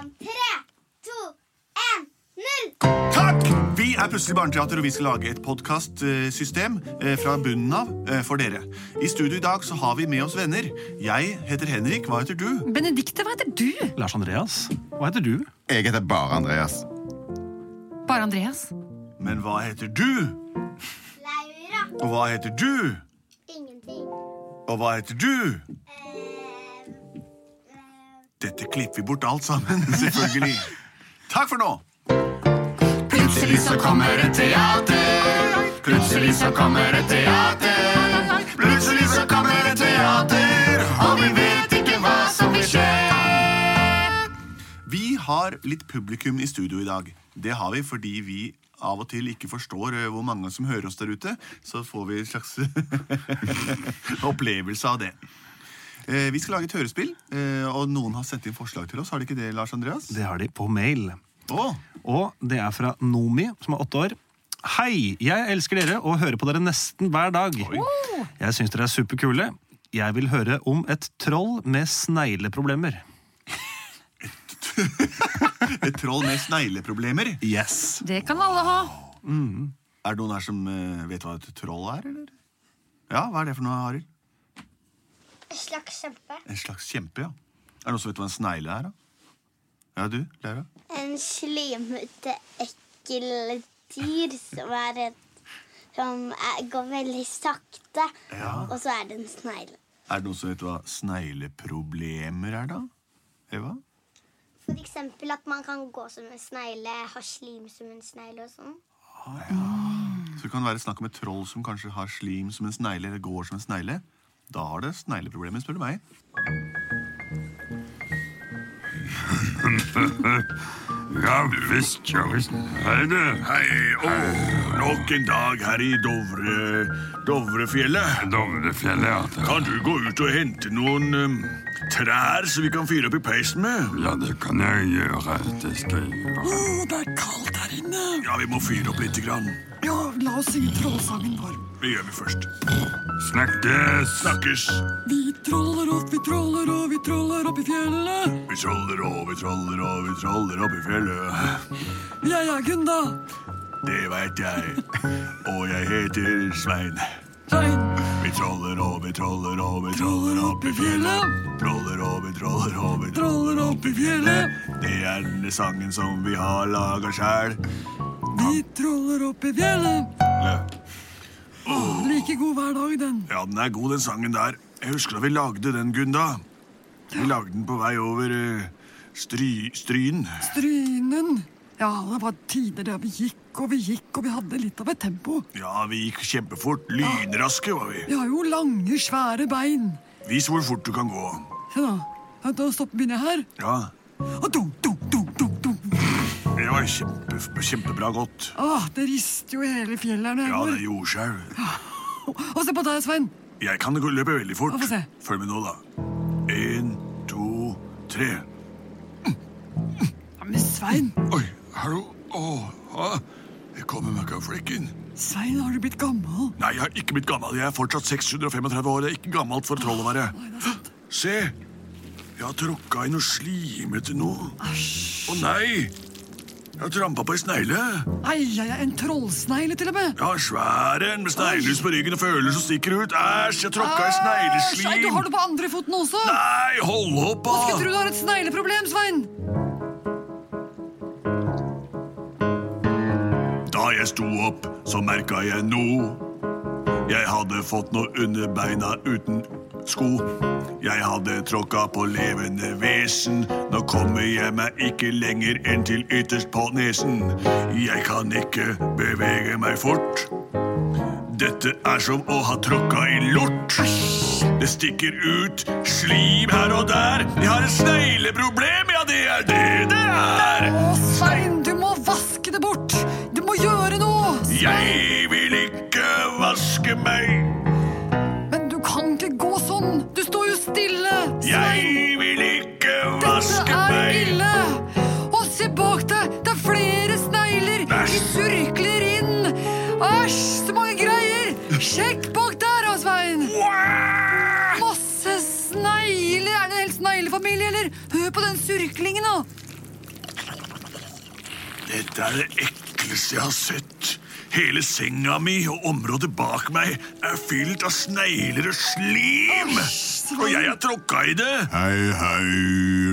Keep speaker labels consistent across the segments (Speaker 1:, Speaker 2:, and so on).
Speaker 1: en, tre, to, en, null!
Speaker 2: Takk! Vi er Plutselig barneteater, og vi skal lage et podkastsystem fra bunnen av eh, for dere. I studio i dag så har vi med oss venner. Jeg heter Henrik. Hva heter du?
Speaker 3: Benedikte, hva heter du?
Speaker 4: Lars Andreas, hva heter du?
Speaker 5: Jeg heter bare Andreas.
Speaker 3: Bare Andreas.
Speaker 2: Men hva heter du?
Speaker 1: Laura.
Speaker 2: Og hva heter du?
Speaker 1: Ingenting.
Speaker 2: Og hva heter du?
Speaker 1: Eh,
Speaker 2: Dette klipper vi bort alt sammen, selvfølgelig. Takk for nå!
Speaker 5: Plutselig så kommer et teater. Plutselig så kommer et teater. Plutselig så kommer et teater, og vi vet ikke hva som vil skje.
Speaker 2: Vi har litt publikum i studio i dag. Det har vi fordi vi av og til ikke forstår eh, hvor mange som hører oss der ute. Så får vi en slags opplevelse av det. Eh, Vi skal lage et hørespill, eh, og noen har sendt inn forslag til oss. Har de ikke det, Lars Andreas?
Speaker 4: Det har de på mail.
Speaker 2: Å,
Speaker 4: Og det er fra Nomi, som er åtte år. Hei! Jeg elsker dere og hører på dere nesten hver dag. Jeg syns dere er superkule. Jeg vil høre om et troll med snegleproblemer.
Speaker 2: et troll med snegleproblemer.
Speaker 4: Yes!
Speaker 3: Det kan alle ha.
Speaker 2: Er det noen her som eh, vet hva et troll er, eller? Ja, hva er det for noe, Arild?
Speaker 1: en slags kjempe.
Speaker 2: En slags kjempe, ja. Er det noen som vet hva en snegle er, da? Ja, du, Laura?
Speaker 1: En slimete, ekkel dyr som er et som er, går veldig sakte. Og så er det en snegle.
Speaker 2: Er det noen som vet hva snegleproblemer er, da? Eva?
Speaker 1: For eksempel at man kan gå som en snegle, ha slim som en snegle og sånn.
Speaker 2: Så det kan være snakk om et troll som kanskje har slim som en snegle, eller går som en snegle. Da har det snegleproblemer, spør du meg.
Speaker 6: Ja visst, ja visst. Hei, du.
Speaker 2: Hei, åh, nok en dag her i Dovre... Dovrefjellet.
Speaker 6: Dovrefjellet, ja. Det,
Speaker 2: du gå ut og hente noen trær så vi kan fyre opp i peisen med?
Speaker 6: ja, det kan jeg gjøre. Det skal jeg gjøre.
Speaker 7: Det er kaldt her inne.
Speaker 2: Ja, vi må fyre opp lite grann.
Speaker 7: Ja, la oss synge trollsangen vår.
Speaker 2: Det gjør vi først.
Speaker 6: Snakkes!
Speaker 2: Snakkes.
Speaker 7: Vi troller opp, vi troller og vi troller opp i fjellet.
Speaker 2: Vi troller og vi troller og vi troller opp i fjellet.
Speaker 7: Jeg er Gunda.
Speaker 2: Det veit jeg. Og jeg heter Svein.
Speaker 7: Svein
Speaker 2: Vi troller og vi troller og vi troller
Speaker 7: troller
Speaker 2: opp i fjellet.
Speaker 7: fjellet.
Speaker 2: Troller og vi troller og vi
Speaker 7: Troller opp i fjellet.
Speaker 2: Det er denne sangen som vi har laga sjæl.
Speaker 7: Vi troller opp i fjellet. Like god hver dag, den.
Speaker 2: Ja, den er god, den sangen der. Jeg husker da vi lagde den, Gunda. Vi lagde den på vei over eh, stry, Stryn.
Speaker 7: Strynen. Ja, det var tider der vi gikk og vi gikk og vi hadde litt av et tempo.
Speaker 2: Ja, vi gikk kjempefort. Lynraske var vi.
Speaker 7: Vi har jo lange, svære bein.
Speaker 2: Vis hvor fort du kan gå.
Speaker 7: Se da. Ja, Da stopper begynner jeg her.
Speaker 2: Ja,
Speaker 7: Og dunk, dunk, dunk, dunk, dunk.
Speaker 2: det var kjempe, kjempebra godt.
Speaker 7: Ah, det rister jo i hele fjellet her når jeg
Speaker 2: Ja, det
Speaker 7: går.
Speaker 2: er jordskjelv.
Speaker 7: Og se på deg, Svein.
Speaker 2: Jeg kan gå- løpe veldig fort.
Speaker 7: Ja, få se.
Speaker 2: Følg med nå, da. En, to, tre.
Speaker 7: Ja, men Svein,
Speaker 2: Oi, hallo. Åh, ha. jeg kommer meg ikke av flekken.
Speaker 7: Svein, har du blitt gammel?
Speaker 2: Nei, jeg har ikke blitt gammel. Jeg er fortsatt 635 år. Det er ikke gammelt for et troll å være.
Speaker 7: Nei, det er sant.
Speaker 2: Se! Jeg har tråkka i noe slimete noe. Å nei! Jeg har trampa på ei snegle.
Speaker 7: Ai, ai, ai, en trollsnegle til og med.
Speaker 2: Jeg har svær en med sneglehus på ryggen og føler som stikker ut. Æsj, jeg tråkka i
Speaker 7: Æsj, ai, du
Speaker 2: snegleslim.
Speaker 7: har det på andre foten også.
Speaker 2: Nei, hold opp,
Speaker 7: Jeg skulle
Speaker 2: da!
Speaker 7: tro du har et snegleproblem, Svein.
Speaker 2: Da jeg sto opp, så merka jeg noe. Jeg hadde fått noe under beina uten sko. Jeg hadde tråkka på levende vesen. Nå kommer jeg meg ikke lenger enn til ytterst på nesen. Jeg kan ikke bevege meg fort. Dette er som å ha tråkka i lort. Det stikker ut slim her og der. Jeg har et snegleproblem, ja, det er det det er.
Speaker 7: Å, Svein, du må vaske det bort. Du må gjøre noe.
Speaker 2: Jeg vil ikke vaske meg.
Speaker 7: Men du kan ikke gå sånn. Du står jo stille.
Speaker 2: Jeg vil ikke vaske
Speaker 7: Dette er
Speaker 2: meg.
Speaker 7: ille. Og se bak deg, det er flere snegler.
Speaker 2: Æsj.
Speaker 7: De surkler inn. Æsj, så mange greier. Sjekk bak der, da, Svein. Masse snegler. Er det en hel sneglefamilie, eller? Hør på den surklingen, da.
Speaker 2: Dette er det ekleste jeg har sett. Hele senga mi og området bak meg er fylt av snegler og slim! Og jeg har tråkka i det!
Speaker 5: Hei, hei,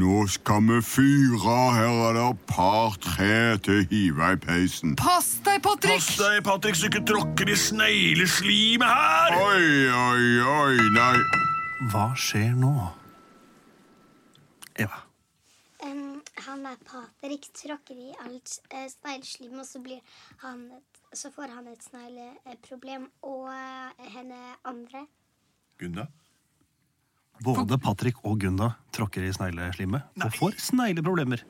Speaker 5: nå skal vi fyre. Her er det et par tre til å hive i peisen.
Speaker 7: Pass deg, Patrick!
Speaker 2: Pass deg, Patrick, så ikke tråkker i snegleslimet her!
Speaker 5: Oi, oi, oi, nei.
Speaker 4: Hva skjer nå? Eva.
Speaker 1: Um, han er Patrick, tråkker i alt eh, snegleslim, og så, blir han et, så får han et snegleproblem. Og eh, henne andre.
Speaker 2: Gunda?
Speaker 4: Både Patrick og Gunda tråkker i snegleslimet og får snegleproblemer.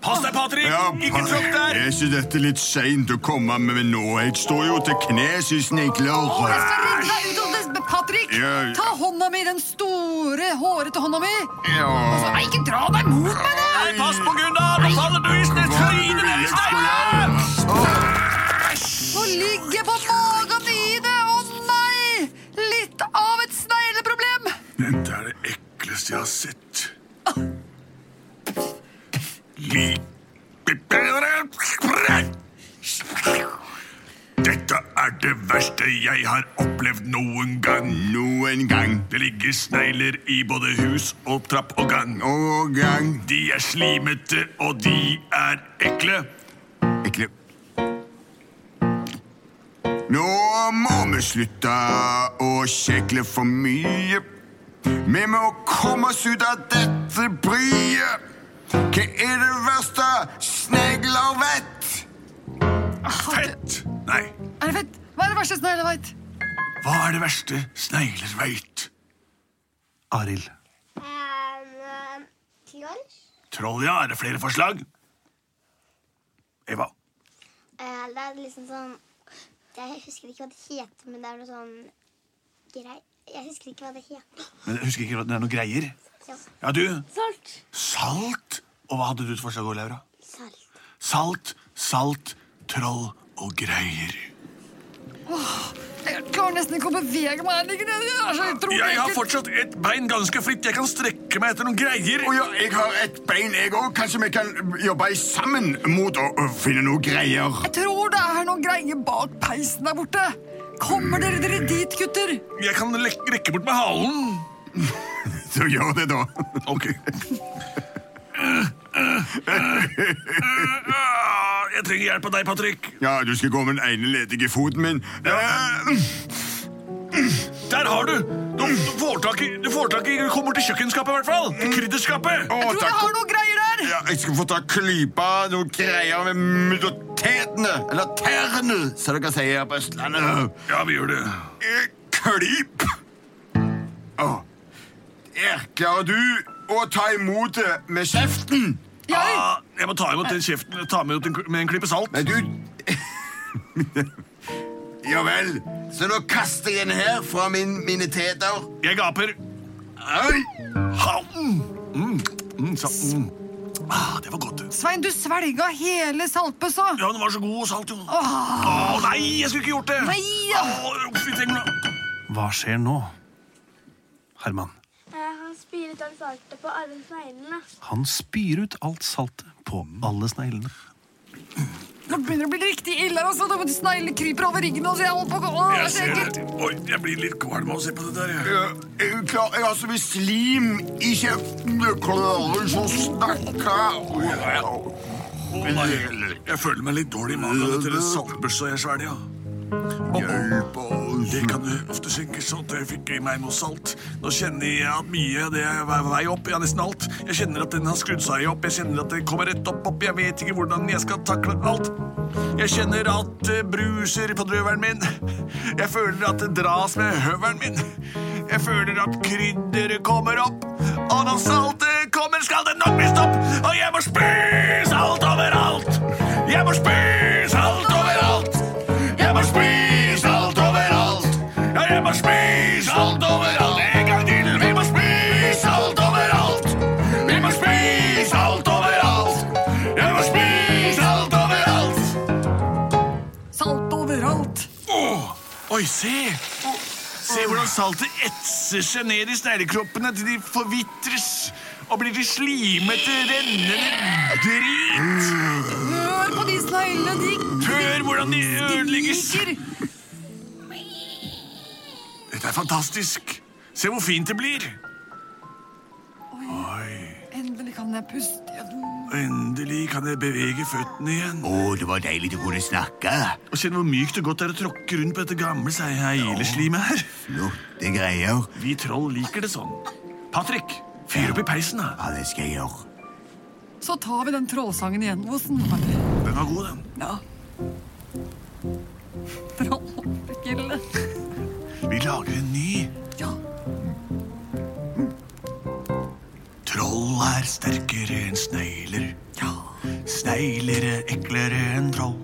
Speaker 2: Pass deg, Patrick!
Speaker 5: Ja,
Speaker 2: ikke
Speaker 5: pa-
Speaker 2: tråkk der!
Speaker 5: Er ikke dette litt seint å komme med nå? Jeg står jo til knes i
Speaker 7: Å, jeg skal
Speaker 5: snegler.
Speaker 7: redde deg ut av det, Patrick!
Speaker 5: Jeg-
Speaker 7: Ta hånda mi, den store, hårete hånda mi!
Speaker 5: Ja.
Speaker 7: Nei, ikke dra meg mot meg, da!
Speaker 2: Nei, pass på Gunda! Nå faller du i sne-
Speaker 5: Hva er det du
Speaker 2: trynet
Speaker 5: vil
Speaker 2: ned i
Speaker 5: jeg skal
Speaker 2: snegla!
Speaker 5: gjøre?
Speaker 7: Nå ligger jeg på magen i det! Å nei! Litt av et snegleproblem!
Speaker 2: Dette er det ekleste jeg har sett. Dette er det verste jeg har opplevd noen gang.
Speaker 5: Noen gang.
Speaker 2: Det ligger snegler i både hus og trapp og gang.
Speaker 5: Og gang.
Speaker 2: De er slimete, og de er ekle.
Speaker 5: Ekle. Nå må vi slutte å kjekle for mye. Vi må komme oss ut av dette bryet. Hva er det verste snegler vet?
Speaker 2: Fett! Nei,
Speaker 7: Er det fett? Hva er det verste snegler veit?
Speaker 2: hva er det verste snegler veit?
Speaker 4: Arild.
Speaker 1: Um, Troll.
Speaker 2: Troll, ja. Er det flere forslag? Eva?
Speaker 1: Eh, det er liksom sånn Jeg husker ikke hva det heter, men det er noe sånn grei... Jeg husker ikke hva det heter.
Speaker 2: Men jeg husker ikke at det er noe greier.
Speaker 1: Ja.
Speaker 2: Ja, du.
Speaker 1: Salt.
Speaker 2: Salt? Og hva hadde du til forslag, Laura?
Speaker 1: Salt.
Speaker 2: Salt, salt, troll og greier.
Speaker 7: Jeg klarer nesten ikke å bevege meg. Jeg ligger nede. Det er så utrolig
Speaker 2: Jeg har
Speaker 7: ekkelt.
Speaker 2: fortsatt et bein ganske fritt. Jeg kan strekke meg etter noen greier.
Speaker 5: Å ja, jeg har et bein, jeg òg. Kanskje vi kan jobbe sammen mot å å finne noen greier.
Speaker 7: Jeg tror det er noen greier bak peisen der borte. Kommer dere dere dit, gutter?
Speaker 2: Jeg kan lek- rekke bort med halen.
Speaker 5: Så gjør det, da.
Speaker 2: Ok. Jeg trenger hjelp av deg, Patrick.
Speaker 5: Ja, du skal gå med den ene ledige foten min. Eh,
Speaker 2: Der har du! Du, du får tak i Du får tak i, du kommer til kjøkkenskapet, i hvert fall. Til krydderskapet.
Speaker 5: å,
Speaker 7: Jeg tror
Speaker 5: takk.
Speaker 7: jeg har noen greier der.
Speaker 5: Ja, jeg skal få ta klypa noen greier med mudotetene, eller tærne, som dere sier her på Østlandet.
Speaker 2: Ja, vi gjør det.
Speaker 5: Eh, Klyp! Å, der klarer du å ta imot det med kjeften.
Speaker 7: Jeg,
Speaker 2: Ah, jeg må ta imot den kjeften Ta imot den med en klype salt.
Speaker 5: Men du... Sånn. ja vel, så nå kaster jeg den her fra min, mine teter.
Speaker 2: Jeg gaper.
Speaker 5: Oi!
Speaker 2: Ha, mm, mm, mm, sa, mm. Ah, det var godt.
Speaker 7: Svein, du svelga hele saltbøssa.
Speaker 2: Ja, den var så god og salt, jo. Åh, nei, jeg skulle ikke gjort det!
Speaker 7: Nei, ja.
Speaker 2: Åh, vi trenger noe.
Speaker 4: Hva skjer nå? Herman.
Speaker 1: Eh, han spyr ut av saltet på alle sneglene.
Speaker 4: Han spyr ut alt saltet på alle sneglene.
Speaker 7: Nå begynner det å bli riktig ille her. Altså. Det- Sneglene kryper over ryggen. Altså. Jeg holder på å gå. Å, det er
Speaker 2: Jeg
Speaker 7: så
Speaker 2: ser
Speaker 7: ekkelt.
Speaker 2: det. Oi, jeg blir litt kvalm av å se på det der. jeg.
Speaker 5: Jeg, jeg, Eh, klar, jeg har så mye slim i kjeften. Jeg klarer ikke å snakke.
Speaker 2: Åh, nei. Jeg føler meg litt dårlig i magen etter den saltbørsa jeg svelger. ja.
Speaker 5: Hjelp oss.
Speaker 2: Det kan du ofte synke sånn at jeg fikk i meg noe salt. Nå kjenner jeg at mye av det er vei- vei opp, ja, nesten alt. Jeg kjenner at den har skrudd seg opp, jeg kjenner at den kommer rett opp opp, jeg vet ikke hvordan jeg skal takle alt. Jeg kjenner at det bruser på drøveren min. Jeg føler at det dras med høveren min. Jeg føler at krydderet kommer opp. Og når saltet kommer, skal det nok bli stopp. Og jeg må spise alt overalt. Jeg må spise alt overalt. Jeg må spise alt overalt. Ja, jeg må spise alt overalt. En gang til. Vi må spise alt overalt. Vi må spise alt overalt. Jeg må spise alt overalt.
Speaker 7: Salt overalt.
Speaker 2: Åh, Oi, se! Se hvordan saltet etser seg ned i sneglekroppene til de forvitres. og blir til slimete, rennende drit.
Speaker 7: Hør på de sneglene, de
Speaker 2: Hør hvordan de ødelegges.
Speaker 7: gnikker.
Speaker 2: Dette er fantastisk. Se hvor fint det blir.
Speaker 7: Endelig kan jeg puste igjen.
Speaker 2: Og endelig kan jeg bevege føttene igjen.
Speaker 5: Å, det var deilig du kunne snakke.
Speaker 2: Og kjenn hvor mykt og godt det er å tråkke rundt på dette gamle seileslimet her.
Speaker 5: Flotte greier.
Speaker 2: Vi troll liker det sånn. Patrick, fyr opp i peisen, da.
Speaker 5: Ja, det skal jeg gjøre.
Speaker 7: Så tar vi den trollsangen igjen. Åssen var det?
Speaker 2: Den var god, den.
Speaker 7: Ja. Trollkille.
Speaker 2: Vi lager en ny.
Speaker 7: Ja.
Speaker 2: Troll er sterkere enn snegler. Snegler er eklere enn troll.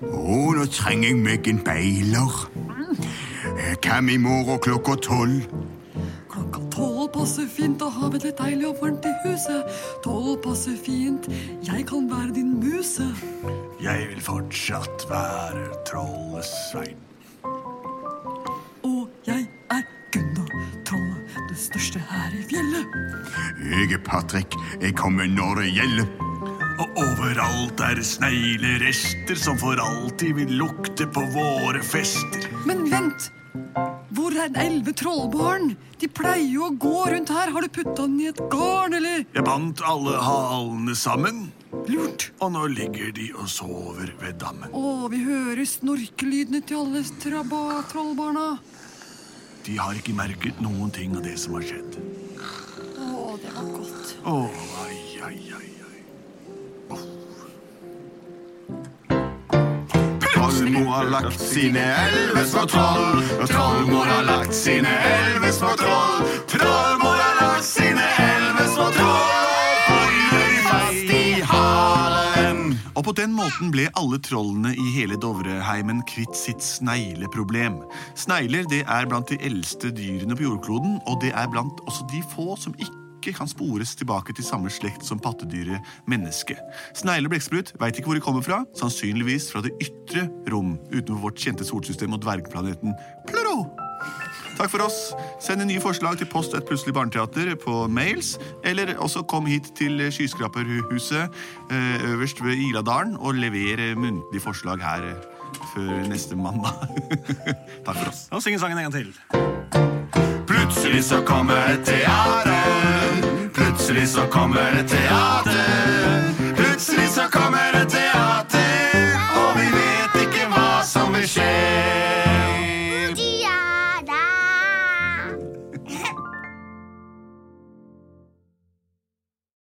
Speaker 5: Å, nå trenger jeg meg en beiler. Eh, Hvem i morgen klokka tolv?
Speaker 7: Klokka tolv passer fint, og har vi det litt deilig og varmt i huset. Tolv passer fint, jeg kan være din muse.
Speaker 2: Jeg vil fortsatt være trollesvein.
Speaker 7: Og jeg er Gunnar Trollet, det største her i fjellet.
Speaker 5: Jeg er Patrick. Jeg kommer når det gjelder.
Speaker 2: Og overalt er sneglerester som for alltid vil lukte på våre fester.
Speaker 7: Men vent! Hvor er de elleve trollbarn? De pleier jo å gå rundt her. Har du putta den i et garn, eller?
Speaker 2: Jeg bandt alle halene sammen,
Speaker 7: Lurt.
Speaker 2: og nå ligger de og sover ved dammen.
Speaker 7: Å, vi hører snorkelydene til alle traba trollbarna.
Speaker 2: De har ikke merket noen ting av det som har skjedd.
Speaker 7: Å, det var godt.
Speaker 2: Åh, ai, ai, ai, ai.
Speaker 5: Trollmor har lagt sine elves for troll. Trollmor har lagt sine elves for troll. Trollmor har lagt sine elves for troll. Holder de fast i halen.
Speaker 2: Og på den måten ble alle trollene i hele Dovreheimen kvitt sitt snegleproblem. Snegler det er blant de eldste dyrene på jordkloden, og det er blant også de få som ikke kan spores tilbake til samme slekt som pattedyret menneske. Snegler og blekksprut veit ikke hvor de kommer fra, sannsynligvis fra det ytre rom utenfor vårt kjente solsystem og dvergplaneten Pluro. Takk for oss. Send nye forslag til post et plutselig barneteater på mails, eller også kom hit til Skyskraperhuset eh, øverst ved Iladalen og lever eh, muntlig forslag her eh, før neste mandag. Takk for oss.
Speaker 4: Og synge sangen en gang til.
Speaker 5: Plutselig så kommer et teater. Plutselig så kommer et teater. Plutselig så kommer et teater.